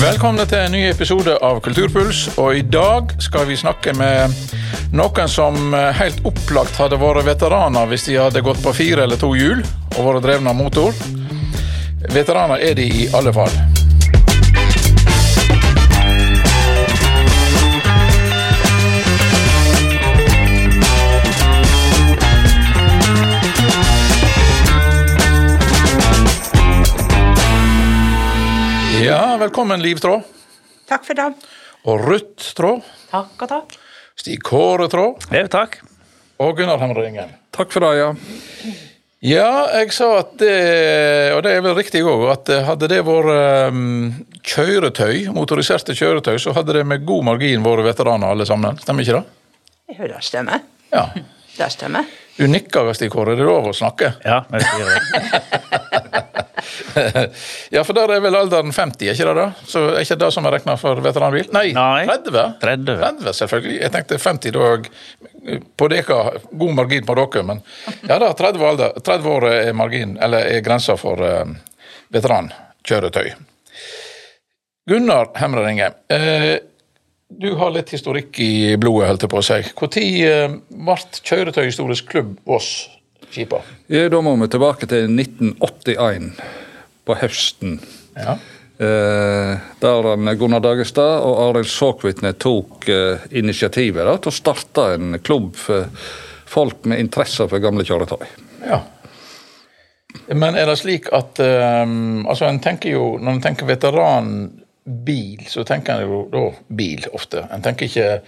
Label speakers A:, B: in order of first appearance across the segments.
A: Velkomne til en ny episode av Kulturpuls. Og i dag skal vi snakke med noen som eh, helt opplagt hadde vært veteraner hvis de hadde gått på fire eller to hjul og vært drevne av motor. Veteraner er de i alle fall. Ja, velkommen Liv Traa.
B: Takk for det.
A: Og Ruth Traa.
B: Takk og takk.
A: Stig Kåre Traa.
C: Jo, takk.
A: Og Gunnar Hamringen.
D: Takk for det, ja.
A: Ja, jeg sa at det, og det er vel riktig òg, at hadde det vært um, kjøretøy, motoriserte kjøretøy, så hadde det med god margin vært veteraner alle sammen. Stemmer ikke det?
B: Jo, det stemmer.
A: Ja.
B: Det stemmer.
A: Du nikker, Stig Kåre. Det er lov å snakke.
C: Ja, men vi sier det.
A: Ja, for der er vel alderen 50, er ikke det da? Så er ikke det som er regna for veteranbil? Nei,
C: Nei.
A: 30.
C: 30.
A: 30, selvfølgelig. Jeg tenkte 50 da jeg- På dere, god margin på dere, men ja da, 30, alder, 30 år er margin, eller er grensa for eh, veterankjøretøy. Gunnar Hemreringe, eh, du har litt historikk i blodet, holdt jeg på å si. Når eh, ble Kjøretøyhistorisk klubb Voss skipa?
D: ja. Da må vi tilbake til 1981, på høsten.
A: Ja.
D: Eh, der han Gunnar Dagestad og Arild Såkvitne tok eh, initiativet da, til å starte en klubb for folk med interesse for gamle kjøretøy.
A: Ja. Men er det slik at ehm, altså en tenker jo, Når en tenker veteranbil, så tenker en jo da bil ofte. En tenker ikke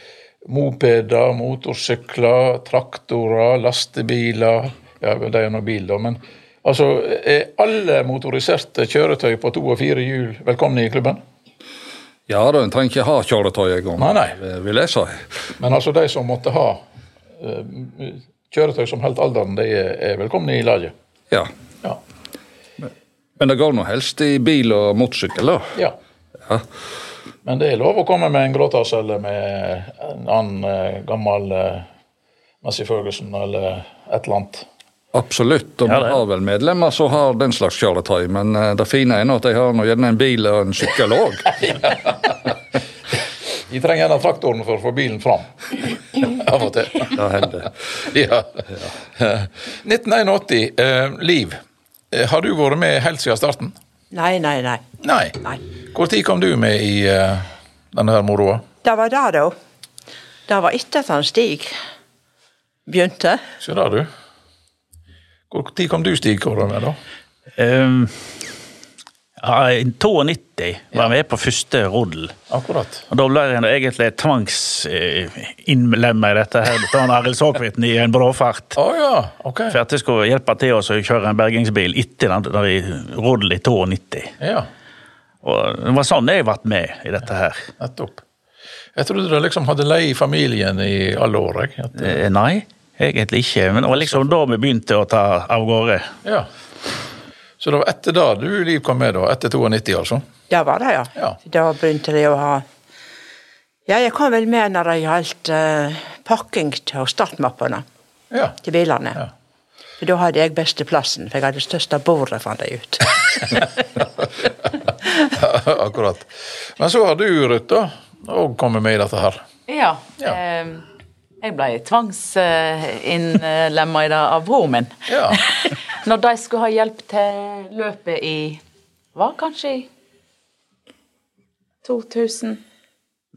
A: mopeder, motorsykler, traktorer, lastebiler Ja, vel, det er jo nå bil, da, men altså Er alle motoriserte kjøretøy på to og fire hjul velkomne i klubben?
D: Ja da, en trenger ikke ha kjøretøy engang,
A: Nei, nei.
D: eh, vil jeg si.
A: Men altså de som måtte ha ehm, kjøretøy som holdt alderen, de er, er velkomne i laget?
D: Ja.
A: Ja.
D: Men det går nå helst i bil og motorsykkel, da.
A: Ja. Men det er lov å komme med en gråtass eller med en annen eh, gammel eh, Massey Ferguson eller et eller annet.
D: Absolutt. og
C: Ja,
D: Vi
C: det.
D: har vel medlemmer som har den slags kjøretøy, men eh, det fine er nå at de har nå gjerne en bil og en sykkel òg.
A: De trenger gjerne traktoren for å få bilen fram. Av og til.
D: Det hender.
A: Ja. Eh, 1981, eh, Liv. eh, Har du vært med helt siden starten?
B: Nei, nei, nei.
A: Nei.
B: Nei.
A: Hvor tid kom du med i eh, denne her moroa?
B: Det var det, da. Det var etter at han Stig begynte.
A: Se der, du. Hvor tid kom du, Stig Kåre, med, da?
C: Um, ja, i 92 var vi på første roddel.
A: Akkurat.
C: Og da ble jeg nå egentlig tvangsinnlemma i dette her. Da han Arild Såkvitten i en bråfart.
A: Å ja, ok.
C: For at jeg skulle hjelpe til oss å kjøre en bergingsbil etter den der i roddel i 92.
A: Ja.
C: Og det var sånn jeg ble med i dette her.
A: Nettopp. Jeg trodde det liksom hadde lei i familien i alle år. Jeg. At,
C: Eh, Nei, egentlig ikke. Men det var liksom da vi begynte å ta av gårde.
A: ja. Så det var etter da du, Liv, kom med, da? Etter 92, altså?
B: Det var det, ja.
A: Ja.
B: Da begynte de å ha Ja, jeg kom vel med når det gjaldt eh, pakking til startmappene
A: Ja.
B: til bilene.
A: Ja.
B: For da hadde jeg beste plassen, for jeg hadde største bordet, fant jeg ut.
A: Akkurat. Men så har du, Ruth, da, òg kommet med i dette her.
E: Ja.
A: Ja.
E: Eh, jeg ble tvangsinnlemma i det av broren min.
A: Ja.
E: Når de skulle ha hjelp til løpet i Var kanskje i 2000?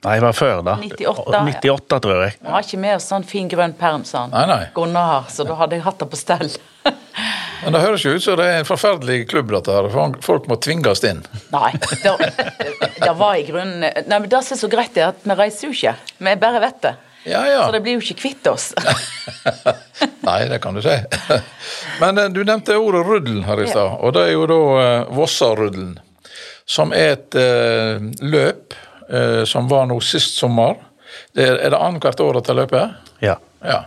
C: Nei, det var før, da.
E: 98, ja.
C: 98 tror jeg.
E: Vi har ikke med oss sånn fin grønn perm som
A: Nei, nei.
E: Gunnar har, så da hadde jeg hatt det på stell.
A: Men det høres jo ut som det er en forferdelig klubb, dette her. for Folk må tvinges inn.
E: Nei, det, det var i grunnen Nei, men Det som er så greit, er at vi reiser jo ikke. Vi bare vet det.
A: Ja, ja.
E: Så det blir jo ikke kvitt oss.
A: Nei, det kan du si. Men eh, du nevnte ordet ruddelen her i stad, og det er jo da eh, Vossaruddelen. Som er et eh, løp eh, som var nå sist sommer. Det er, er det annethvert år dette løpet?
C: Ja.
A: Ja.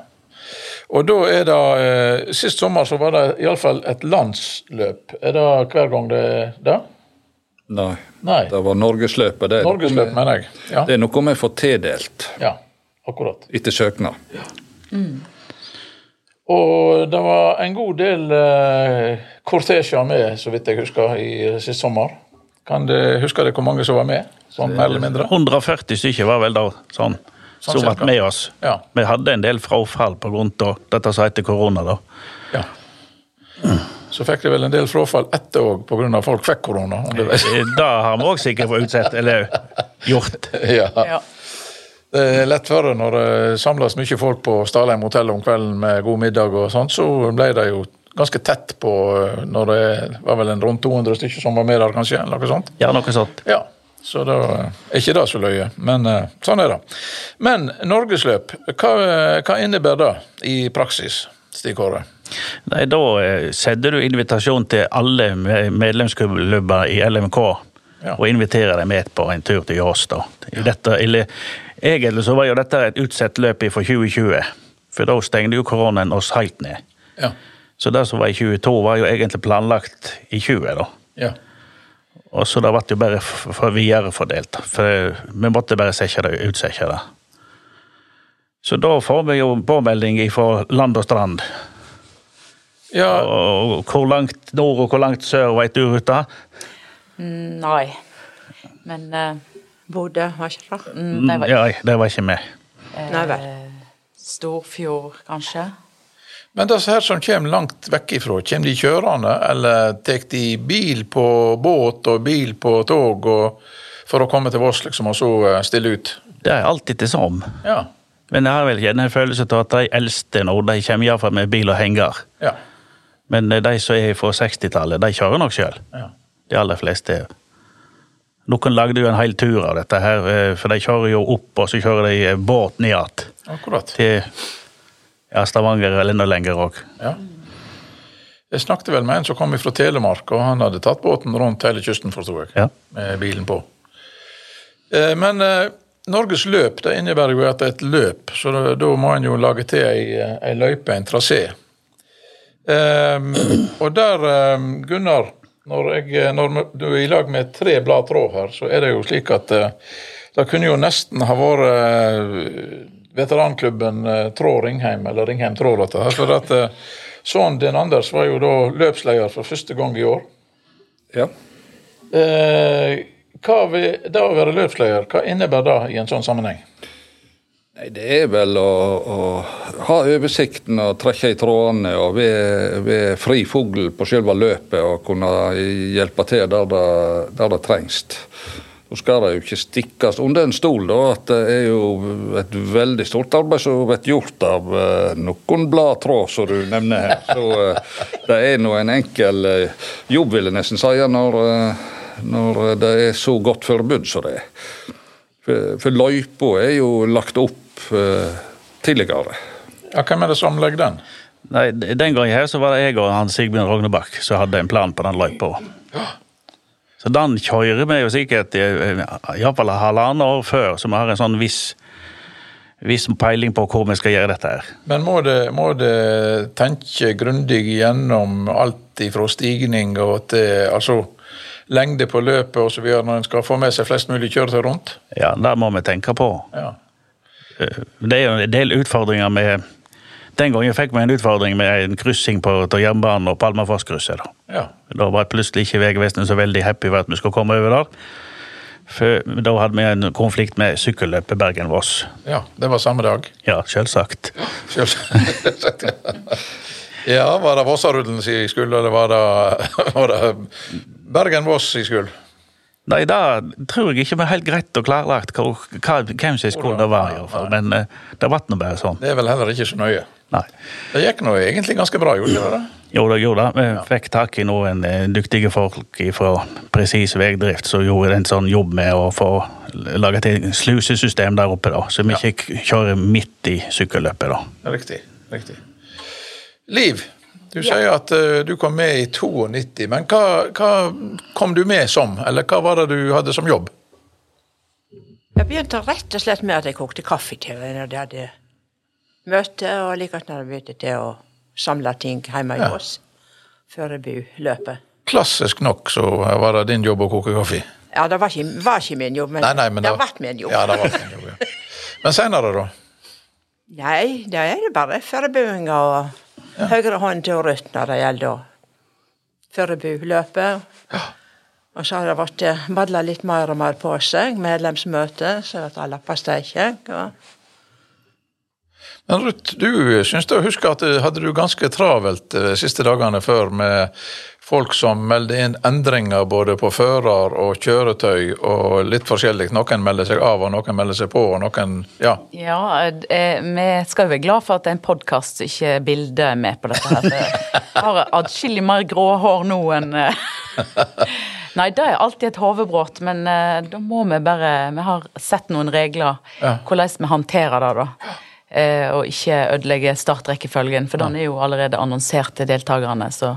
A: Og da er det eh, Sist sommer så var det iallfall et landsløp. Er det hver gang det er det?
D: Nei.
A: Nei.
D: Det var Norgesløpet. Det er noe
A: Norgesløp,
D: vi-
A: mener jeg. Ja.
D: Det er noe vi får tildelt
A: ja, akkurat.
D: etter søknad.
A: Og det var en god del eh, kortesjer med, så vidt jeg husker, i sist sommer. Kan du, husker du hvor mange som var med? Sånn mer eller mindre?
C: 140 stykker var vel der, sånn,
A: Sånn
C: som var
A: cirka.
C: med oss.
A: Ja.
C: Vi hadde en del frafall på grunn av dette som heter korona, da.
A: Ja. Så fikk de vel en del frafall etter òg, pga. folk fikk korona. om du vet.
C: Det Eh, har vi òg sikkert fått utsatt, eller gjort.
A: Ja.
E: Ja.
A: Det er lett for det når det samles mye folk på Stalheim hotell om kvelden med god middag og sånt, så ble det jo ganske tett på eh, når det var vel en rundt 200 stykker som var med der, kanskje, eller noe sånt.
C: Ja, noe sånt.
A: Ja, så da eh, er ikke det så løye, men eh, sånn er det. Men norgesløp, hva, eh, hva innebærer det i praksis, Stig Kåre?
C: Nei, da eh, sender du invitasjon til alle me- medlemsklubber i LMK.
A: Ja.
C: Og inviterer dem med på en tur til Jås, da. I dette, eller, egentlig så var jo dette et utsatt løp fra 2020. For da stengte jo koronaen oss helt ned.
A: Ja,
C: Så det som var i 22, var jo egentlig planlagt i 20, da.
A: ja.
C: Og så det ble jo bare f- for viderefordelt. For vi måtte bare sette det, utsette det. Så da får vi jo påmelding fra land og strand.
A: ja
C: Og hvor langt nord og hvor langt sør, veit du, Ruta?
E: Nei. Men eh,
B: Bodø, var ikke det? Mm,
E: Nei, vel.
C: Mm, Ja, det var ikke vi.
B: Nei vel.
E: Storfjord, kanskje?
A: Men disse her som kommer langt vekk ifra, kommer de kjørende, eller tar de bil på båt og bil på tog og, for å komme til Voss, liksom, og så eh, stille ut?
C: Det er alltid det samme.
A: Ja.
C: Men jeg har vel gjerne en følelse av at de eldste nå, de kommer iallfall med bil og henger.
A: ja.
C: Men eh, de som er fra 60-tallet, de kjører nok sjøl.
A: Ja.
C: De aller fleste. Noen lagde jo en hel tur av dette her, eh, for de kjører jo opp, og så kjører de eh, båt ned igjen.
A: Akkurat.
C: Til ja, Stavanger eller enda lenger òg.
A: Ja. Jeg snakket vel med en som kom fra Telemark, og han hadde tatt båten rundt hele kysten, forsto jeg,
C: Ja.
A: med bilen på. Eh, Men eh, Norges løp det innebærer jo at det er et løp, så da- da må en jo lage til ei, eh, ei løype, en trasé. Ehm, og der, ehm, Gunnar, når, jeg, eh, når vi- du er i lag med tre blad tråd her, så er det jo slik at eh, det kunne jo nesten ha vært eh, veteranklubben eh, Tråd Ringheim, eller Ringheim Tråd, dette her. For at eh, sønnen din Anders var jo da løpsleder for første gang i år.
D: Ja.
A: Eh, hva vil det å være løpsleder, hva innebærer det i en sånn sammenheng?
D: Nei, det er vel å, å ha oversikten og trekke i trådene og være, være fri fugl på selve løpet og kunne hjelpe til der det, der det trengs. Så skal det jo ikke stikkes under en stol da, at det er jo et veldig stort arbeid som blir gjort av eh, noen blad tråd, som du nevner her. Så eh, det er nå en enkel eh, jobb, vil jeg nesten si, når, eh, når det er så godt forbud som det er. For, Eh, for løypa er jo lagt opp eh, tidligere.
A: Ja, hvem er det som legger den?
C: Nei, d- Den gangen her så var det jeg og han Sigbjørn Rognebakk som hadde en plan på den løypa. Så den kjører vi jo sikkert eh, iallfall halvannet år før, så vi har en sånn viss, viss peiling på hvor vi skal gjøre dette her.
A: Men må det, må det tenke grundig gjennom alt ifra stigning og til altså, lengde på løpet osv. når en skal få med seg flest mulig kjøretøy rundt?
C: Ja, Det må vi tenke på.
A: Ja.
C: Det er jo en del utfordringer med Den gangen fikk vi en utfordring med en kryssing på av jernbanen og Palmafosskrysset. da.
A: ja.
C: Da var plutselig ikke Vegvesenet så veldig happy for at vi skulle komme over der. For da hadde vi en konflikt med sykkelløpet Bergen-Voss.
A: Ja, det var samme dag.
C: Ja, selvsagt.
A: Selvsagt. ja, var det Vossarudden sin skyld, eller var det, var det Bergen-Voss sin skyld?
C: Nei, det tror jeg ikke vi er helt greit og klarlagt hva, hva, hvem som skulle det være, i hvert fall. Men eh, det ble nå bare sånn.
A: Det er vel heller ikke så nøye.
C: Nei.
A: Det gikk nå egentlig ganske bra, gjorde det ikke det?
C: Jo da, jo da. Vi fikk tak i noen eh, dyktige folk fra Presis Vegdrift som gjorde en sånn jobb med å få laget et slusesystem der oppe, da. Så vi ikke k- kjører midt i sykkelløpet, da.
A: Riktig. riktig. Liv, du sier at eh, du kom med i 92, men hva, hva kom du med som? Eller hva var det du hadde som jobb?
B: Jeg begynte rett og slett med at jeg kokte kaffe til henne når de hadde møte, og likevel når jeg begynte til å samle ting hjemme i
A: Ja.
B: oss før jeg bu løpet.
A: Klassisk nok så var det din jobb å koke kaffe.
B: Ja, det var ikke, var ikke min jobb, men,
A: Nei, nei, men
B: det
A: da-
B: har vært min jobb.
A: Ja, det var din jobb, ja. Men senere, da?
B: Nei, det er det bare forberedelser og høyre hånd til Ruth når det gjelder å forberede løpet. Og så har det vært eh, madla litt mer og mer på seg. Medlemsmøte, så at alle passer ikke. Og
A: Men Ruth, du syns å huske at eh, hadde du ganske travelt eh, de siste dagene før med folk som meldte inn endringer både på fører og kjøretøy og litt forskjellig. Noen melder seg av, og noen melder seg på, og noen Ja.
E: Ja, eh, vi skal jo være glad for at det er en podkast som ikke bildet er med på dette. her. Jeg har adskillig mer grå hår nå enn eh. Nei, det er alltid et hodebrot, men eh, da må vi bare Vi har sett noen regler
A: Ja.
E: hvordan vi håndterer det, da. Eh, Og ikke ødelegge startrekkefølgen, for den er jo allerede annonsert til deltakerne. Så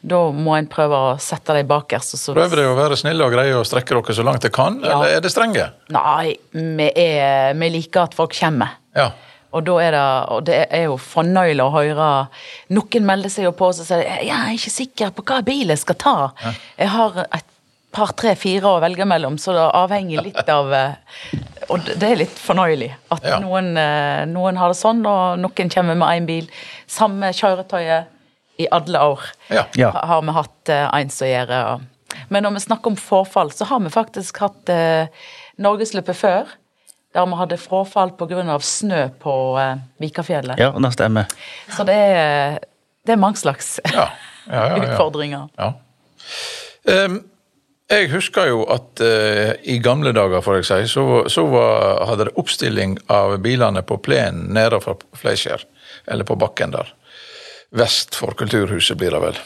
E: da må en prøve å sette dem bakerst. og så-
A: Prøver dere å være snille og greie og strekke dere så langt dere kan,
E: Ja.
A: eller er det strenge?
E: Nei, vi, er, vi liker at folk kommer.
A: Ja.
E: Og, da er det, og det er jo fornøyelig å høre Noen melder seg jo på og så sier de, jeg er ikke sikker på hva bil jeg skal ta. Jeg har et par, tre, fire å velge mellom, så det avhenger litt av eh, Og det- det er litt fornøyelig at
A: Ja.
E: noen, eh, noen har det sånn, og noen kommer med én bil. Samme kjøretøyet i alle år
A: Ja.
C: Ja.
E: Ha- har vi hatt eh, en som gjør det. og- Men når vi snakker om forfall, så har vi faktisk hatt eh, Norgesløpet før. Der vi hadde frafall pga. snø på eh, Vikafjellet.
C: Ja, det stemmer.
E: Så det er, det er mange slags
A: Ja. Ja, ja, ja.
E: utfordringer.
A: Ja. Ehm, jeg husker jo at eh, i gamle dager, får jeg si, så, så var, hadde det oppstilling av bilene på plenen nede fra Fleischer, eller på bakken der. Vest for Kulturhuset, blir det vel.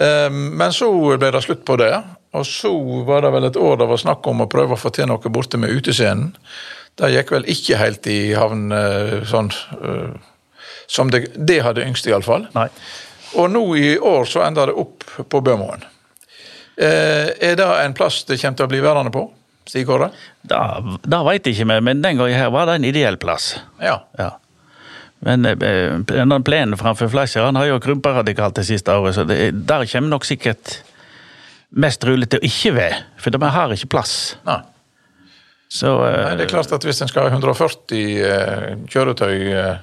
A: Ehm, men så ble det slutt på det, og så var det vel et år det var snakk om å prøve å få til noe borte med utescenen. Det gikk vel ikke helt i havn eh, sånn eh, som det, det hadde yngst, iallfall.
C: Nei.
A: Og nå i år så enda det opp på Bømoen. Eh, er det en plass det kommer til å bli værende på? Stig Kåre?
C: Det veit ikke vi, men den gangen her var det en ideell plass.
A: Ja.
C: Ja. Men eh, den plenen framfor Fleischer han har jo krympa radikalt det siste året, så det, der kommer nok sikkert mest rolig til å ikke være. For vi har ikke plass.
A: Nei.
C: Så eh,
A: Nei, det er klart at hvis en skal ha 140 eh, kjøretøy eh,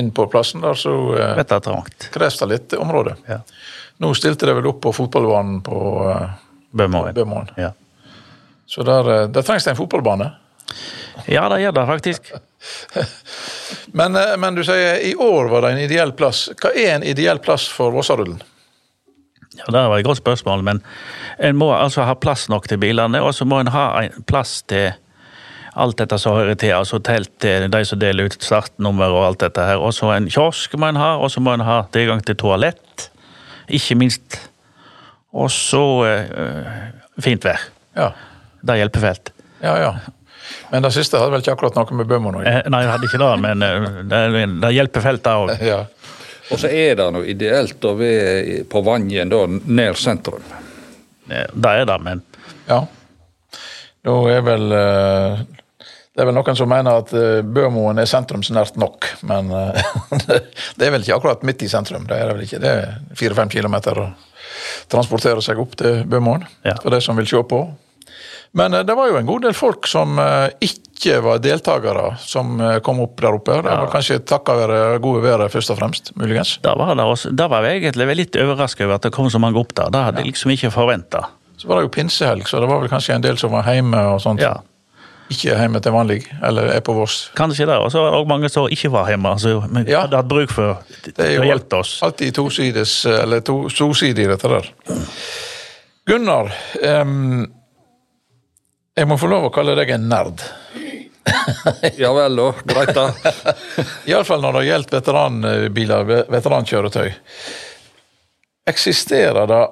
A: inn på plassen der, så eh,
C: dette er trangt.
A: kreves det litt område.
C: Ja.
A: Nå stilte de vel opp på fotballbanen på eh,
C: Bømoen.
A: Bømoen.
C: Ja.
A: Så der, eh, der trengs det en fotballbane.
C: ja, det gjør det faktisk.
A: Men, eh, men du sier i år var det en ideell plass. Hva er en ideell plass for Vossarullen?
C: Ja, det var et godt spørsmål, men en må altså ha plass nok til bilene, og så må en ha en plass til alt dette som hører til, altså telt til de som deler ut startnummer og alt dette her. Og så en kiosk må en ha, og så må en ha tilgang til toalett, ikke minst. Og så eh, fint vær.
A: Ja.
C: Det hjelper fælt.
A: ja, ja. Men det siste hadde vel ikke akkurat noe med Bømoen å gjøre?
C: Eh, nei, jeg hadde ikke det, men eh, det, det hjelper fælt, det òg.
A: Ja.
D: Og så er det noe ideelt å være i- på Vangen, da, nær sentrum.
C: Eh, Det er det, men
A: Ja. Da er vel eh, Det er vel noen som mener at eh, Bømoen er sentrumsnært nok, men eh, det er vel ikke akkurat midt i sentrum. Det er det vel ikke. Det er fire-fem kilometer å transportere seg opp til Bømoen,
C: Ja.
A: for de som vil se på. Men eh, det var jo en god del folk som eh, ikke var deltakere, som eh, kom opp der oppe. Det var kanskje takka være gode været, først og fremst, muligens.
C: det var, det også, det var jeg egentlig litt overraska over at det kom så mange opp der. Det hadde jeg liksom ikke forventa.
A: Så var det jo pinsehelg, så det var vel kanskje en del som var hjemme og sånt.
C: Ja.
A: Ikke hjemme til vanlig, eller er på Voss.
C: Kanskje det. Og så var det også mange som ikke var hjemme, altså, men
A: Ja.
C: hadde hatt bruk for
A: Det er
C: å
A: jo
C: hjelpe oss.
A: alltid tosides, eller to, tosidig, dette der. Gunnar, em, jeg må få lov å kalle deg en nerd.
D: Ja vel, da. Greit, da.
A: Iallfall når det gjelder veteranbiler, ve- veterankjøretøy. Eksisterer det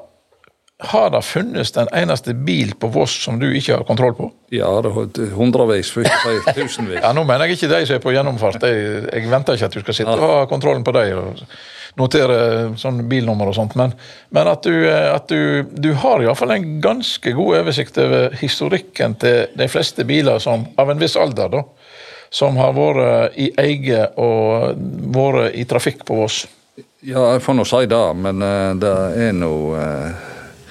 A: Har det funnes den eneste bil på Voss som du ikke har kontroll på?
D: Ja, det er hundrevis, for ikke å si tusenvis.
A: Ja, Nå mener jeg ikke de som er på gjennomfart. Jeg, jeg venter ikke at du skal sitte og ha kontrollen på dem og notere sånn bilnummer og sånt, men, men at du, eh, at du, du har iallfall en ganske god oversikt over historikken til de fleste biler som, av en viss alder, da, som har vært eh, i eie og vært i trafikk på Voss.
D: Ja, jeg får nå si det, men eh, det er nå uh,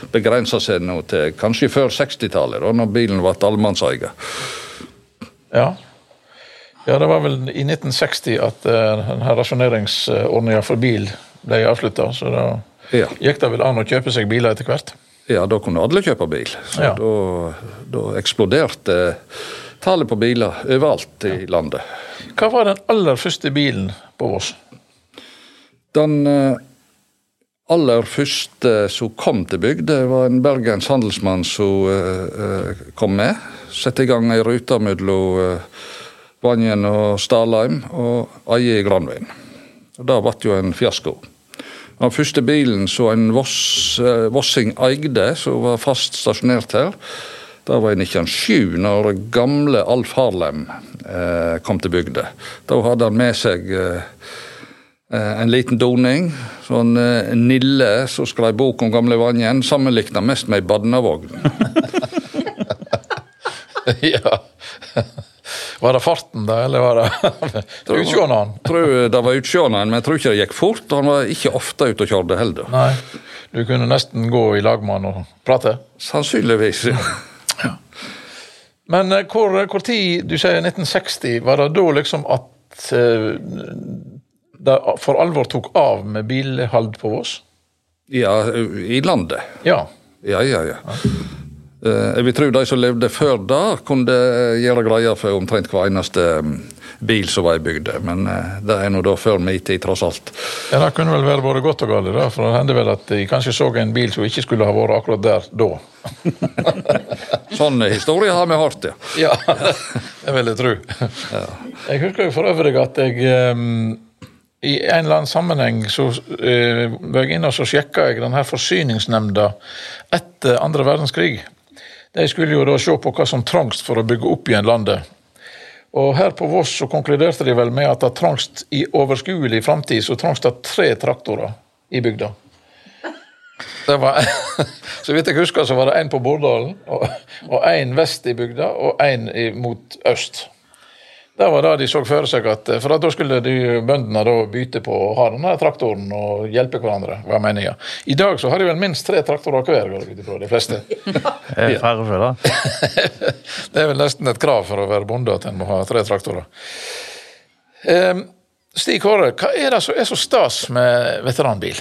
D: Begrensa seg nå til kanskje før 60-tallet, da når bilen ble allemannseie.
A: Ja. ja, det var vel i 1960 at eh, denne rasjoneringsordninga for bil ble avslutta, så da
D: Ja.
A: gikk det vel an å kjøpe seg biler etter hvert.
D: Ja, da kunne alle kjøpe bil. Så
A: Ja.
D: da, da eksploderte tallet på biler overalt i landet.
A: Hva var den aller første bilen på Voss?
D: Den eh, aller første som kom til bygd, det var en bergens handelsmann som eh, eh, kom med. Sette i gang ei rute mellom eh, Vangen og Stalheim og Eie i Granveien. Og Det ble jo en fiasko. Den første bilen som en voss, eh, vossing eide, som var fast stasjonert her, det var i 1907, når gamle Alf Harlem eh, kom til bygda. Da hadde han med seg eh, Eh, En liten doning, sånn eh, Nille som skrev bok om gamle Vangen, sammenlikna mest med ei badnavogn.
A: ja. Var det farten, da, eller var det utsjånaden?
D: Tror eh, det var utsjående, men jeg tror ikke det gikk fort. og Han var ikke ofte ute og kjørte heller.
A: Nei. Du kunne nesten gå i lag med han og prate.
D: Sannsynligvis.
A: Men eh, hvor, hvor tid, du sier 1960, var det da liksom at eh, det for alvor tok av med bilhold på Voss?
D: Ja, eh, i landet.
A: Ja.
D: Ja, ja, ja. Eh, Jeg vil tro de som levde før da, kunne eh, gjøre greie for omtrent hver eneste mm, bil som var i bygda. Men eh, det er nå da før min tid, tross alt.
A: ja, det kunne vel være både godt og galt, da, for det hendte vel at de kanskje så en bil som ikke skulle ha vært akkurat der da.
D: Sånne historier Sånn har vi hørt, ja.
A: Ja, det vil jeg tro. Jeg husker jo for øvrig at jeg ehm, i en eller annen sammenheng så eh, var jeg inne og så sjekka jeg den her forsyningsnemnda etter andre verdenskrig. De skulle jo da se på hva som trangst for å bygge opp igjen landet. Og her på Voss så konkluderte de vel med at det trangst i overskuelig framtid så trangst det tre traktorer i bygda. Det var, så vidt jeg husker, så var det en på Bordalen, og- og en vest i bygda, og en i- mot øst. Det var det de så for seg, at, eh, for at da skulle de bøndene da bytte på å ha denne traktoren og hjelpe hverandre. var meningen. I dag så har de vel minst tre traktorer hver, går jeg ut ifra, de fleste.
C: Er det eh, færre for det?
A: Det er vel nesten et krav for å være bonde at en må ha tre traktorer. Ehm, Stig Kåre, hva er det som er så stas med veteranbil?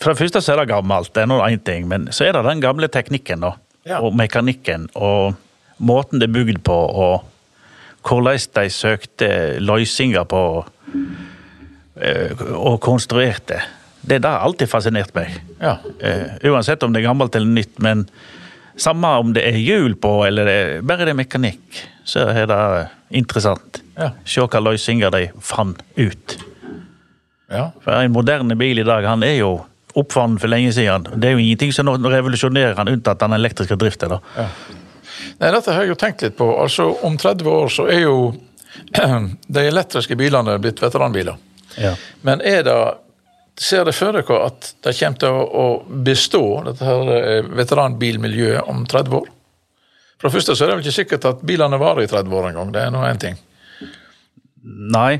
C: For det første så er det gammelt, det er nå én ting, men så er det den gamle teknikken, da.
A: Ja.
C: Og mekanikken, og måten det er bygd på, og hvordan de søkte løsninger på eh, og konstruerte. Det det har alltid fascinert meg.
A: Ja.
C: Eh, Uansett om det er gammelt eller nytt, men samme om det er hjul på, eller det er, bare det er mekanikk, så er det interessant.
A: Ja.
C: Se hva løsninger de fant ut.
A: Ja,
C: For En moderne bil i dag han er jo oppfunnet for lenge siden. Det er jo ingenting som revolusjonerer han unntatt den elektriske driften. da.
A: Nei, dette har jeg jo tenkt litt på. Altså, Om 30 år så er jo de elektriske bilene blitt veteranbiler.
C: Ja.
A: Men er det, ser dere for dere at det kommer til å å bestå, dette her eh, veteranbilmiljøet, om 30 år? For det første så er det vel ikke sikkert at bilene varer i 30 år engang. Det er nå én ting.
C: Nei.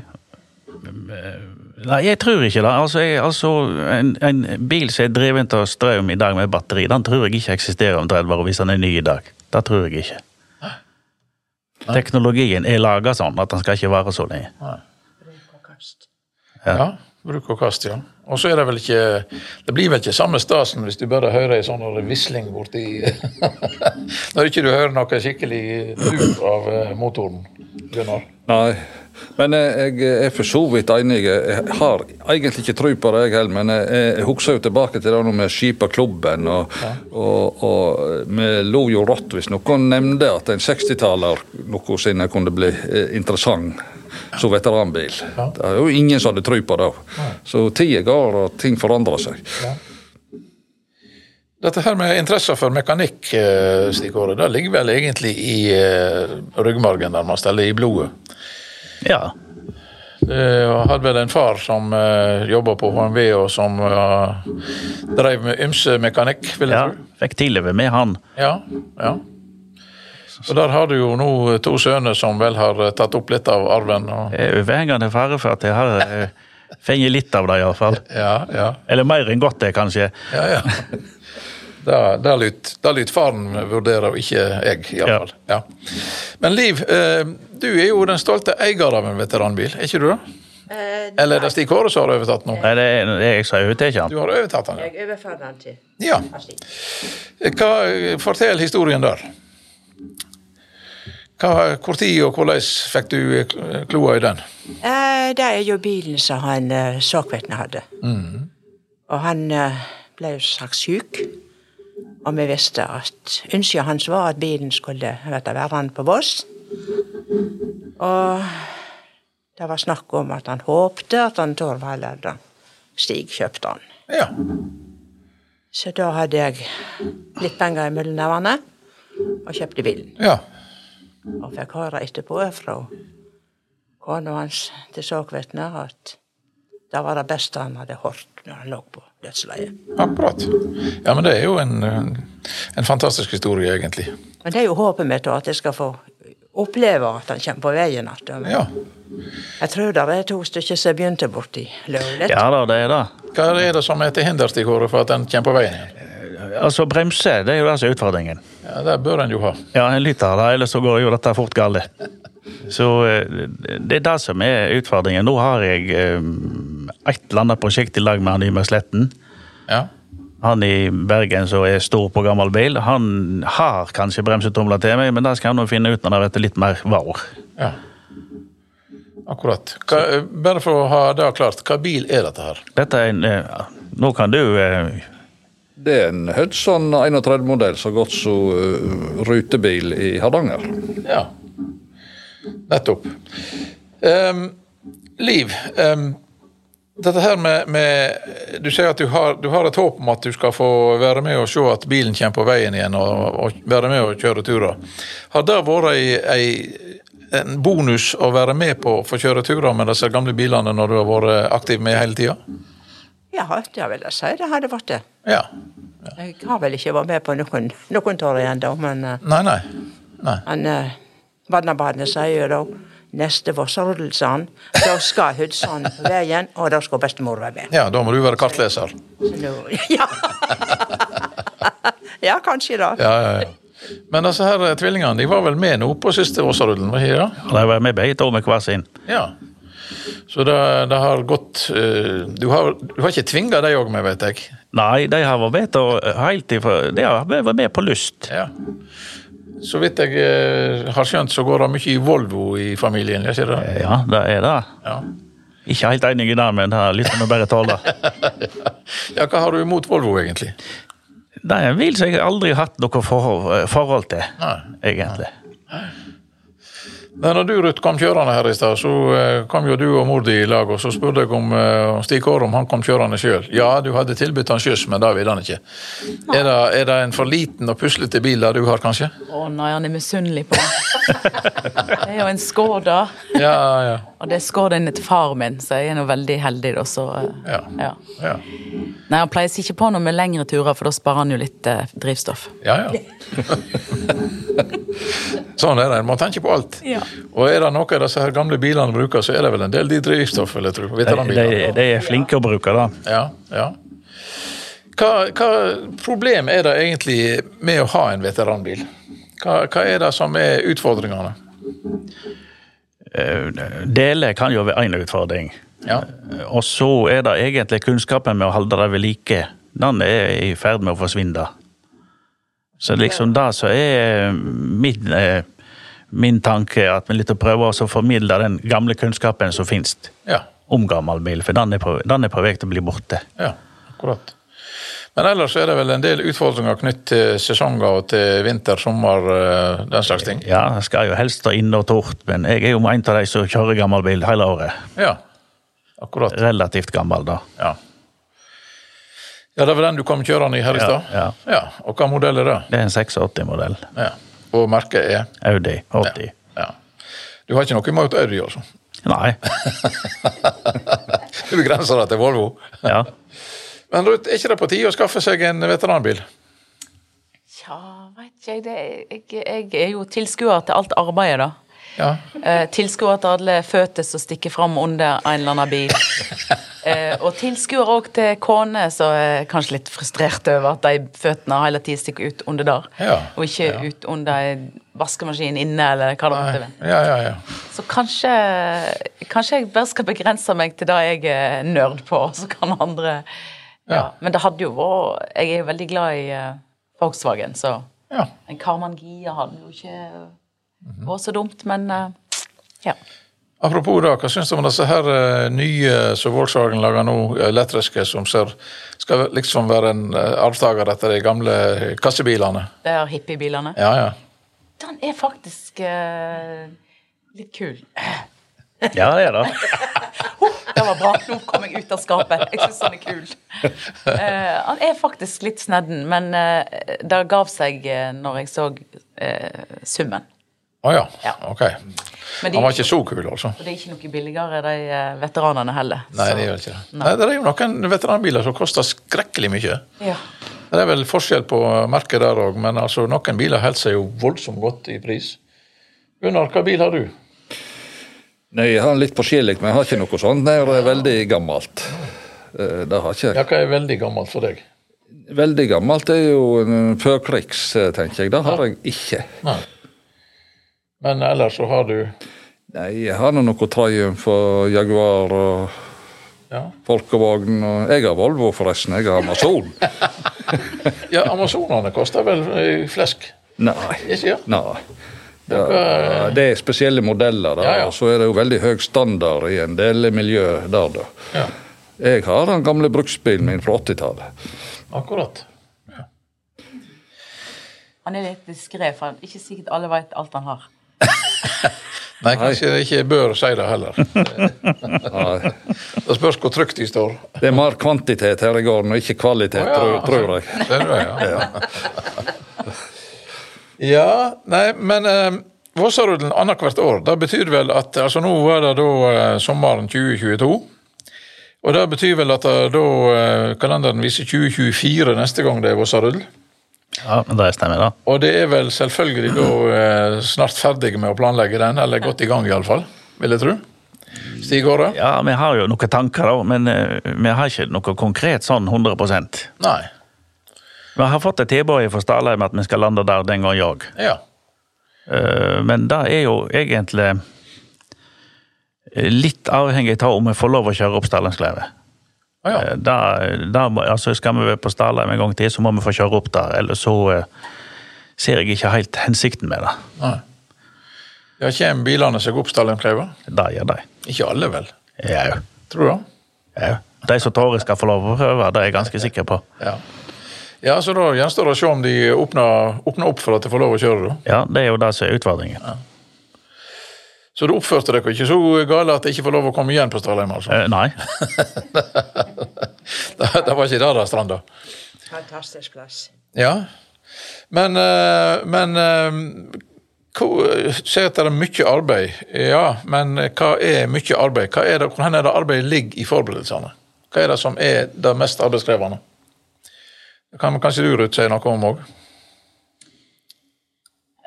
C: Eh, Nei, jeg tror ikke det. Altså, jeg, altså en, en bil som er drevet av strøm i dag med batteri, den tror jeg ikke eksisterer om 30 år hvis den er ny i dag. Det tror jeg ikke. Teknologien er laga sånn at den skal ikke vare så lenge.
A: Ja. Bruk og kast, ja. Og så er det vel ikke Det blir vel ikke samme stasen hvis du bare hører ei sånn visling borti Når ikke du hører noe skikkelig lur av eh, motoren, Gunnar.
D: Nei, men jeg, jeg er for så vidt enig. Jeg har egentlig ikke tro på det, jeg heller. Men jeg, jeg husker jo tilbake til det nå med skip og klubben. Og, og, og vi lo jo rått hvis noen nevnte at en 60-taller noensinne kunne bli eh, interessant som veteranbil. Det er jo ingen som hadde tro på det. Så tida går, og ting forandrer seg.
A: Dette her med interesse for mekanikk, eh, Stig Kåre, det ligger vel egentlig i eh, ryggmargen nærmest, eller i blodet.
C: Ja.
A: Eh, Jeg hadde vel en far som eh, jobba på HMV, og som eh, drev med ymse mekanikk, vil jeg
C: ja.
A: tro.
C: Fikk tilleve med han.
A: Ja, ja. Og der har du jo nå to sønner som vel har eh, tatt opp litt av arven. Og,
C: Det er overhengende fare for at jeg har eh, fått litt av det, iallfall.
A: ja, ja,
C: Eller mer enn godt, det, kanskje.
A: ja, ja. Da, da, lyt, da lyt faren vurdere, og ikke jeg, iallfall. Ja. Men Liv, eh, du er jo den stolte eier av en veteranbil, er ikke du det?
B: Eh,
A: Eller er det Stig Kåre som har overtatt nå?
C: Nei, det er, det er jeg som har uttatt
A: Du
C: den.
A: har overtatt den,
B: jeg overfører den til
A: ja. ja.
B: Astrid.
A: Hva, fortell historien der. Hva, hvor tid og hvordan fikk du eh, kloa i den?
B: Eh, det er jo bilen som han eh, såkvetten hadde. Og han eh, ble jo sagt syk. Og vi visste at ønsket hans var at bilen skulle bli værende på Voss. Og det var snakk om at han håpte at han Torvald eller Stig kjøpte han.
A: Ja.
B: Så da hadde jeg litt penger mellom nevene eh, og kjøpte bilen.
A: ja.
B: Og fikk høre etterpå fra kona hans til såkvetna at det var det beste han hadde hørt når han lå på dødsleiet.
A: Akkurat. Ja, men det er jo en, en, en fantastisk historie, egentlig.
B: Men det er jo håpet mitt da, at jeg skal få oppleve at han kommer på veien igjen.
A: Ja.
B: Jeg tror det er to stykker som begynte borti Løvlet.
C: Ja da, det er det.
A: Hva er det som er til hinder Stig Kåre, for at den kommer på veien igjen?
C: Altså, bremse, det er jo det som er utfordringen.
A: Ja, Det bør en jo ha.
C: Ja, en lytter, da, ellers så går jo dette fort galt. Så eh, det er det som er utfordringen. Nå har jeg eh, et eller annet prosjekt i lag med han Ymer Sletten.
A: Ja.
C: Han i Bergen som er stor på gammel bil, han har kanskje bremsetomler til meg, men det skal han nå finne ut når han blir litt mer var.
A: ja. Akkurat. Hva, bare for å ha det klart, hva bil er dette her?
C: Dette er en eh, Nå kan du eh,
D: Det er en Hudson 31-modell så godt som eh, rutebil i Hardanger.
A: Ja. Nettopp. Ehm, Liv, ehm, dette her med, med Du sier at du har, du har et håp om at du skal få være med og se at bilen kommer på veien igjen, og, og være med og kjøre turer. Har det vært ei, ei, en bonus å være med på å få kjøre turer med disse gamle bilene når du har vært aktiv med hele tida?
B: Ja, det vil jeg si det hadde vært det.
A: Ja.
B: Jeg har vel ikke vært med på noen, noen tårer igjen da, men eh,
A: Nei, nei. Nei.
B: han eh, Vadnabadet sier jo da neste vårsordel, sa han. Da skal Hudson på veien, og da skal bestemor være med.
A: Ja, da må du være kartleser.
B: Nå- Ja. ja, kanskje da.
A: Ja, ja, ja. Men disse her eh, tvillingene de var vel med nå på siste Åsarullen? var de ikke det?
C: Han har vært med begge to med hver sin.
A: Ja. Så det, det har gått eh, du, har, du har ikke tvinga deg òg med, vet jeg.
C: Nei, de har vært med, og helt ifra, de har vært med på lyst.
A: Ja. Så vidt jeg eh, har skjønt, så går det mye i Volvo i familien. Jeg ser det.
C: Ja, det er det.
A: Ja.
C: Ikke helt enig i det, men det er litt som å bare tåle.
A: ja, hva har du imot Volvo, egentlig?
C: Det er en bil som jeg aldri har hatt noe forhold, eh, forhold til,
A: Nei.
C: egentlig.
A: Men når du, Ruth, kom kjørende her i stad, så eh, kom jo du og mor di i lag, og så spurte jeg om eh, om Stig Kåre om han kom kjørende sjøl. Ja, du hadde tilbudt han skyss, men det ville han ikke. Er det, er det en for liten og puslete bil der du har, kanskje?
E: Å nei, han er misunnelig på meg. Det er jo en Skoda,
A: Ja, ja.
E: og det er Skodaen til far min, så jeg er nå veldig heldig, da, så eh,
A: Ja.
E: ja.
A: Ja,
E: Nei, han pleier seg ikke på noe med lengre turer, for da sparer han jo litt eh, drivstoff.
A: ja. ja. sånn er det. En må tenke på alt.
E: Ja.
A: Og er det noe av disse her gamle bilene bruker, så er det vel en del de drivstoff, vil jeg tro.
C: De, de,
A: Veteranbiler.
C: de er flinke å bruke det.
A: Ja, ja. Hva, hva problem er det egentlig med å ha en veteranbil? Hva, hva er det som er utfordringene?
C: Eh, Deler kan jo være én utfordring.
A: Ja,
C: Eh, Og så er det egentlig kunnskapen med å holde det ved like. Den er i ferd med å forsvinne. Så liksom det som er min, eh, min tanke, at vi litt prøver å formidle den gamle kunnskapen som finnes
A: ja,
C: om gammel bil, for den er på, den er på vei til å bli borte.
A: ja akkurat. Men ellers er det vel en del utfordringer knyttet til sesonger og til vinter, sommer, eh, den slags ting.
C: Ja, jeg skal jo helst stå inne og tort, men jeg er jo en av de som kjører gammel bil hele året.
A: Ja, akkurat.
C: Relativt gammel, da.
A: Ja. ja, det var den du kom kjørende i her i
C: Ja,
A: stad?
C: ja.
A: Og hva modell er det?
C: Det er en 86-modell.
A: Ja. Og merket er?
C: Audi 80.
A: Ja. Du har ikke noe imot Audi, altså?
C: Nei.
A: Du begrenser deg til Volvo.
C: Ja.
A: Men Ruth, er ikke det på tide å skaffe seg en veteranbil?
E: Tja, veit ikke jeg. Det, jeg. Jeg er jo tilskuer til alt arbeidet, da.
A: Ja.
E: Eh, tilskuer til alle føtter som stikker fram under en eller annen bil. Eh, og tilskuer òg til kone som er kanskje litt frustrert over at de føttene hele tiden stikker ut under der,
A: Ja,
E: og ikke ut under ei vaskemaskin inne, eller hva det måtte være.
A: Ja, ja, ja.
E: Så kanskje, kanskje jeg bare skal begrense meg til det jeg er nerd på, så kan andre ja.
A: Ja.
E: Men det hadde jo vært Jeg er jo veldig glad i eh, Volkswagen, så
A: ja.
E: en Karman Gia hadde jo ikke
A: Mhm.
E: vært så dumt, men eh, ja.
A: Apropos det, hva syns du om disse her eh, nye som Volkswagen lager nå, eh, elektriske, som ser, skal liksom være en eh, arvtaker etter de gamle eh, kassebilene?
E: Det er hippiebilene.
A: Ja, ja.
E: Den er faktisk eh, litt kul.
C: Ja, det er det.
E: Det var bra. Nå kom jeg ut av skapet. Jeg syns han er kul. Eh, han er faktisk litt snedden, men eh, det gav seg eh, når jeg så eh, summen.
A: Å ja.
E: Ja.
A: Ok.
E: Men de,
A: Han var ikke så kul, altså.
E: og det er ikke noe billigere, de eh, veteranene heller.
A: Nei,
E: så-
A: det er vel ikke det.
E: Nei.
A: Nei, det er jo noen veteranbiler som koster skrekkelig mye.
E: Ja.
A: Det er vel forskjell på eh, merket der òg, men altså, noen biler holder seg jo voldsomt godt i pris. Gunnar, hva bil har du?
D: Nei, jeg har litt forskjellig, men jeg har ikke noe sånt. Nei, Det er veldig gammelt. Eh, Det har ikke jeg.
A: Ja, hva er veldig gammelt for deg?
D: Veldig gammelt er jo en førkrigs, eh, tenker jeg. Det har jeg ikke.
A: Nei. Men ellers så har du
D: Nei, jeg har nå noe Triumph og Jaguar og
A: Ja,
D: Folkevogn og Jeg har Volvo, forresten. Jeg har Amazon.
A: ja Amazonene koster vel eh, flesk?
D: Nei.
A: Ikke ja?
D: Nei. Det er, det er spesielle modeller, da,
A: Ja, ja.
D: og så er det jo veldig høy standard i en del miljø der. da.
A: ja?
D: Jeg har den gamle bruksbilen min fra 80-tallet.
A: Akkurat.
E: Han er litt diskré, for han- ikke sikkert alle vet alt han har.
A: Nei, kanskje jeg ikke bør si det heller.
D: Nei,
A: Det spørs hvor trygt de står.
D: Det er mer kvantitet her i gården, og ikke kvalitet, tror, tror jeg.
A: altså. Det er det, ja. ja, nei, men eh, Vossarudden annethvert år, det betyr vel at altså Nå var det da eh, sommeren 2022. Og det betyr vel at eh, da eh, kalenderen viser 2024 neste gang det er Vossarull.
C: Ja, men det stemmer, da.
A: Og det er vel selvfølgelig da eh, snart ferdig med å planlegge den, eller godt i gang iallfall, vil jeg tro. Stig Åre?
C: Ja, vi har jo noen tanker, da, men eh, vi har ikke noe konkret sånn 100 Vi
A: Nei.
C: har fått et tilbud fra Stalheim at vi skal lande der den gangen òg.
A: Ja.
C: Eh, Men det er jo egentlig eh, litt avhengig av om vi får lov å kjøre opp Stalheimskleivet.
A: Å ja.
C: Eh, Da, da, må- altså skal vi være på Stalheim en gang til, så må vi få kjøre opp der. Ellers så eh, ser jeg ikke helt hensikten med det.
A: Nei. Ja, kommer bilene seg opp Stallingkleiva?
C: Det gjør de.
A: Ikke alle, vel?
C: Jau.
A: Tror du det?
C: Jau. De som tør, skal få lov å prøve, det er jeg ganske sikker på.
A: Ja. ja, så da gjenstår det å se om de åpner, åpner opp for at de får lov å kjøre, da.
C: Ja, Det er jo det som er utfordringen.
A: Så du oppførte dere ikke så gale at de ikke får lov å komme igjen på Stalheim, altså?
C: Eh, Nei.
A: det, det var ikke der det stranda.
B: Fantastisk plass.
A: Ja. Men, eh, men eh, hva- Si at det er mye arbeid. Ja, men eh, hva er mye arbeid? Hva er det, hvor hen er det arbeidet ligger i forberedelsene? Hva er det som er det mest arbeidskrevende? Det kan kanskje du, Ruth, si noe om òg?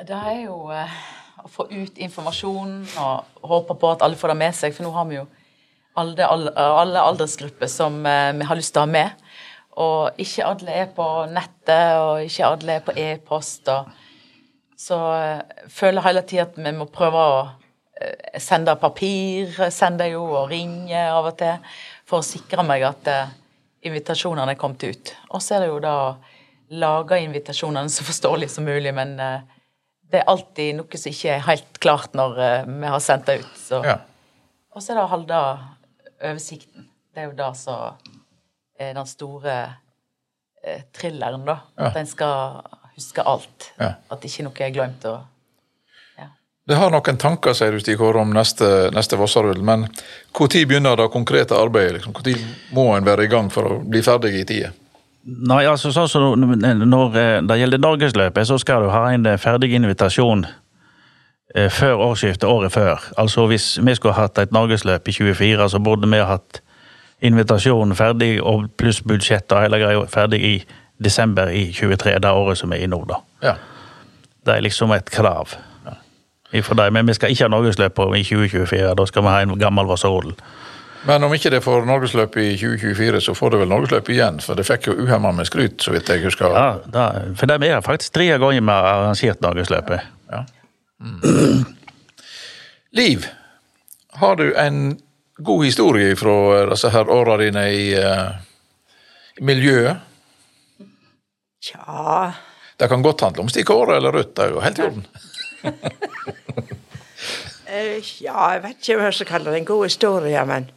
E: Det er jo eh, å få ut informasjon og håpe på at alle får det med seg, for nå har vi jo alle, alle, alle aldersgrupper som eh, vi har lyst til å ha med. Og ikke alle er på nettet, og ikke alle er på e-post. og Så eh, føler jeg hele tida at vi må prøve å eh, sende papir, sende jo og ringe av og til, for å sikre meg at eh, invitasjonene er kommet ut. Og så er det jo da å lage invitasjonene så forståelig som mulig, men eh, det er alltid noe som ikke er helt klart når eh, vi har sendt det ut. Så.
A: Ja.
E: Og så er det å holde oversikten. Det er jo det som er den store eh, thrilleren, da. At en skal huske alt.
A: Ja.
E: At ikke noe er glemt. Og
A: Det har noen tanker, sier du, Stig Kåre, om neste, neste Vossarull, men når begynner det konkrete arbeidet? liksom? Når må en være i gang for å bli ferdig i tide?
C: Nei, altså sånn som når- Når eh, det gjelder norgesløpet, så skal du ha en eh, ferdig invitasjon eh, før årsskiftet året før. Altså Hvis vi skulle hatt et norgesløp i 24, så burde vi hatt invitasjonen ferdig og pluss budsjett og hele greia ferdig i desember i 23, det året som er i nå. da.
A: Ja.
C: Det er liksom et krav. Ifra deg, Men vi skal ikke ha norgesløp på- i 2024, da skal vi ha en gammel Vassodel.
A: Men om ikke det får norgesløp i 2024, så får det vel norgesløp igjen, for det fikk jo uhemma med skryt, så vidt jeg husker.
C: Ja, da, for det er faktisk tre ganger vi har arrangert norgesløpet.
A: Ja. Liv, har du en god historie fra eh, disse her åra dine i eh, miljøet?
B: Tja
A: Det kan godt handle om stikkåret eller rødt, det er jo helt i orden.
B: eh, Ja, jeg vet ikke hva jeg skal kalle det en god historie, men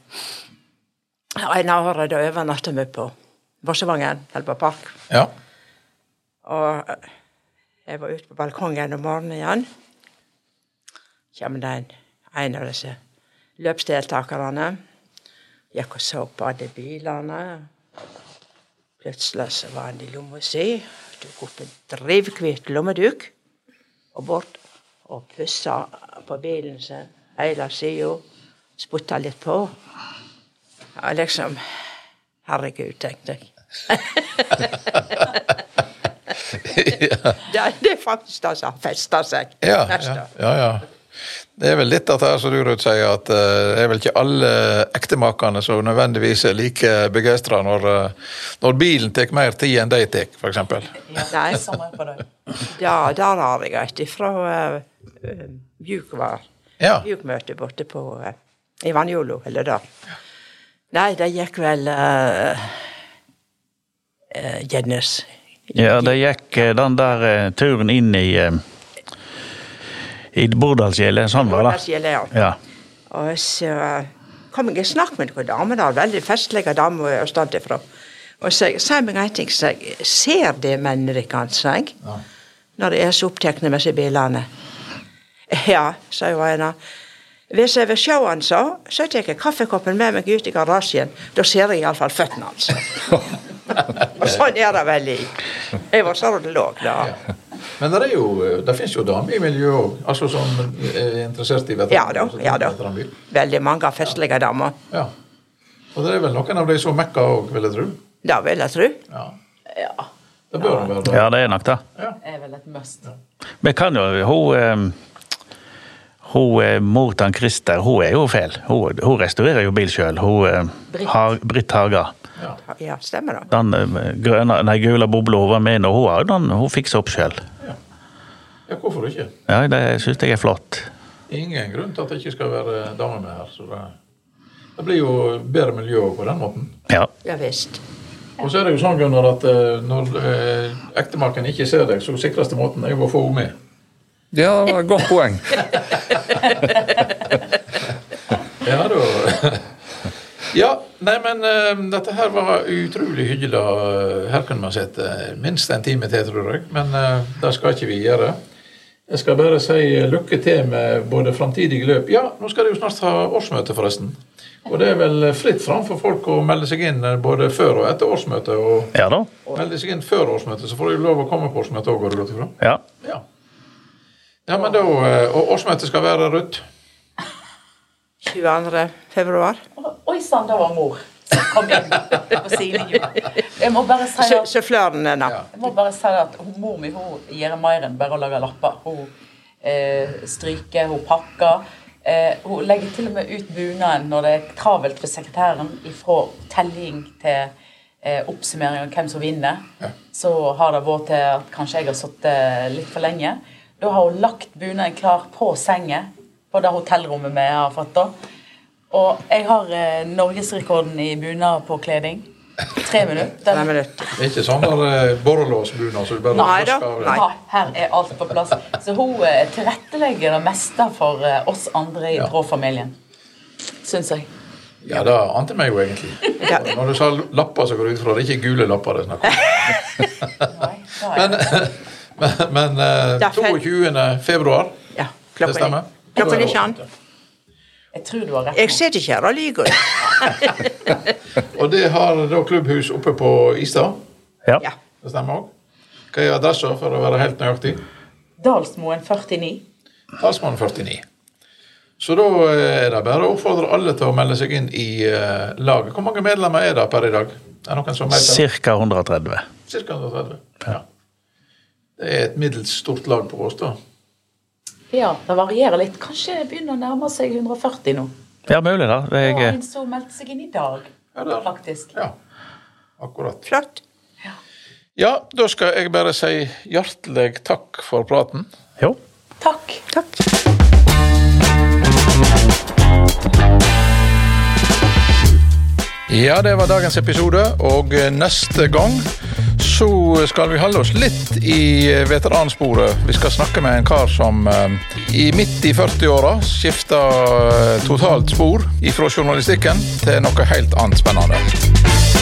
B: En av årene da overnatta vi på Vossevangen, eller på Park.
A: Ja.
B: Og eh, jeg var ute på balkongen om morgenen igjen. Kommer det en, en av disse løpsdeltakerne. Gikk og så på alle bilene. Plutselig så var han i lomma si. Tok opp en drivhvit lommeduk og bort og pussa på bilen sin hele sida. Spytta litt på. Ja, liksom Herregud, tenkte jeg. Det, det er faktisk det som har festa seg.
A: Ja,
B: Neste.
A: ja, ja, ja. Det er vel litt dette her som du, Ruth, sier, at eh, det er vel ikke alle ektemakene som nødvendigvis er like begeistra når, eh, når bilen tar mer tid enn de tar, f.eks.
B: Nei, sånn
E: Samme på deg.
B: ja, der har jeg et ifra eh, eh, Bjuk var.
A: Ja.
B: Bjukmøte borte på eh, i Vanjolo, eller der. Nei, det gikk vel eh, uh, Jennes.
C: Ja, det gikk eh, den der eh, turen inn i eh, i Bordalsgjeldet. Sånn var det.
B: Jonas Jelea.
C: Ja.
B: Og så kom jeg i snakk med noen damer, der, veldig festlige damer østafra. Og så sa jeg meg en ting, så jeg ser det mennene kan, sa jeg, når de er så opptatt med seg bilene. Ja, sa jo en av. Hvis jeg vil se han så, så tar jeg kaffekoppen med meg ut i garasjen. Da ser jeg iallfall føttene hans. og sånn er det vel i Jeg var sånn sardolog da.
A: Men det, er jo, det finnes jo damer i miljøet òg, altså som er interessert i
B: Ja
A: veteran-
B: da, ja da.
A: veteranbil.
B: Veldig mange festlige damer.
A: Ja. Og det er vel noen av de som mekker òg, vil jeg tro.
B: Det vil jeg tro.
A: Ja.
E: Ja.
A: Det bør det være.
C: ja, det er nok det.
E: Det er vel et must.
C: Vi kan jo Hun eh, hun eh, mor til han Christer, hun er jo fæl. Hun, hun restaurerer jo bil sjøl.
E: Britt.
C: Britt Haga.
A: Ja.
B: Ja, stemmer det.
C: Den eh, grønne, nei, gule bobla hun var med nå, hun, har jo den- hun fikser opp sjøl.
A: ja, hvorfor ikke?
C: Ja, det syns jeg er flott.
A: Ingen grunn til at det ikke skal være damer med her. Så det, det blir jo bedre miljø også på den måten.
C: Ja.
B: Ja visst.
A: Og så er det jo sånn, Gunnar, at eh, når eh, ektemaken ikke ser deg, så sikreste måten er jo å få henne med.
D: Ja, det var et godt poeng.
A: Ja, da. Ja, nei, men eh, dette her var utrolig hyggelig. eh, Her kunne man sett eh, minst en time til, tror jeg. Men eh, det skal ikke vi gjøre. Jeg skal bare si eh, lykke til med både framtidige løp Ja, nå skal de jo snart ha årsmøte, forresten. Og det er vel fritt fram for folk å melde seg inn eh, både før og etter årsmøtet. Og
C: Ja da.
A: melde seg inn før årsmøtet, så får de jo lov å komme på årsmøtet òg, går det godt ifra?
C: Ja.
A: Ja. ja, men da eh, Og årsmøtet skal være rødt.
B: 22. februar.
E: Oi sann, det var mor som kom inn på sidelinja. Jeg må bare si
B: Sø-
E: at,
B: Sufflørene, da.
A: Ja.
E: jeg må bare si at hun- mor mi hun gjør Mairen bare å lage lapper. Hun eh, stryker, hun pakker. Eh, hun legger til og med ut bunaden når det er travelt for sekretæren, ifra telling til eh, oppsummering av hvem som vinner. Så har det vært til at kanskje jeg har sittet eh, litt for lenge. Da har hun lagt bunaden klar på senga på det hotellrommet vi har fått. da. Og jeg har eh, norgesrekorden i bunadpåkledning. Tre minutter.
B: Nei, men det-
A: Det er ikke sånn der eh, borrelåsbunad som du bare
B: Nei da,
A: rusker av deg.
B: nei.
E: Ja, her er alt på plass. Så hun eh, tilrettelegger det meste for eh, oss andre i
A: Ja.
E: Brå-familien. Syns jeg.
A: Ja, det ante meg jo egentlig.
B: Ja.
A: Og Når du sa lapper, så går det ut fra det er ikke gule lapper det er snakk om.
E: Nei, da er-
A: Men, men, men eh,
B: Det er feil.
A: 22. februar,
B: Ja,
A: det
B: klokka
A: stemmer?
B: ni. Klokka ni kjann.
E: jeg tror du har rett.
B: Jeg sitter ikke her og lyver.
A: Og det har da klubbhus oppe på Istad.
C: ja.
B: Ja.
A: Det stemmer òg. Hva er adressa, for å være helt nøyaktig?
E: Dalsmoen 49.
A: Talsmann 49. Så da eh, er det bare å oppfordre alle til å melde seg inn i eh, laget. Hvor mange medlemmer er det per i dag? Er det noen som vet det?
C: Ca. 130.
A: Cirka 130. Ja. Det er et middels stort lag på Åstad.
E: Ja, det varierer litt. Kanskje det begynner å nærme seg 140 nå.
C: Ja, mulig, da.
E: Det var
C: Jeg, eh,
E: en som meldte seg inn i dag,
A: Ja, det er-
E: faktisk.
A: Ja, akkurat.
B: Flott.
A: Ja, da skal jeg bare si hjertelig takk for praten.
C: jo.
E: Takk.
B: Takk.
A: Ja, det var dagens episode, og neste gang så skal vi holde oss litt i veteransporet. Vi skal snakke med en kar som eh, i midt i 40-åra skifta eh, totalt spor ifra journalistikken til noe helt annet spennende.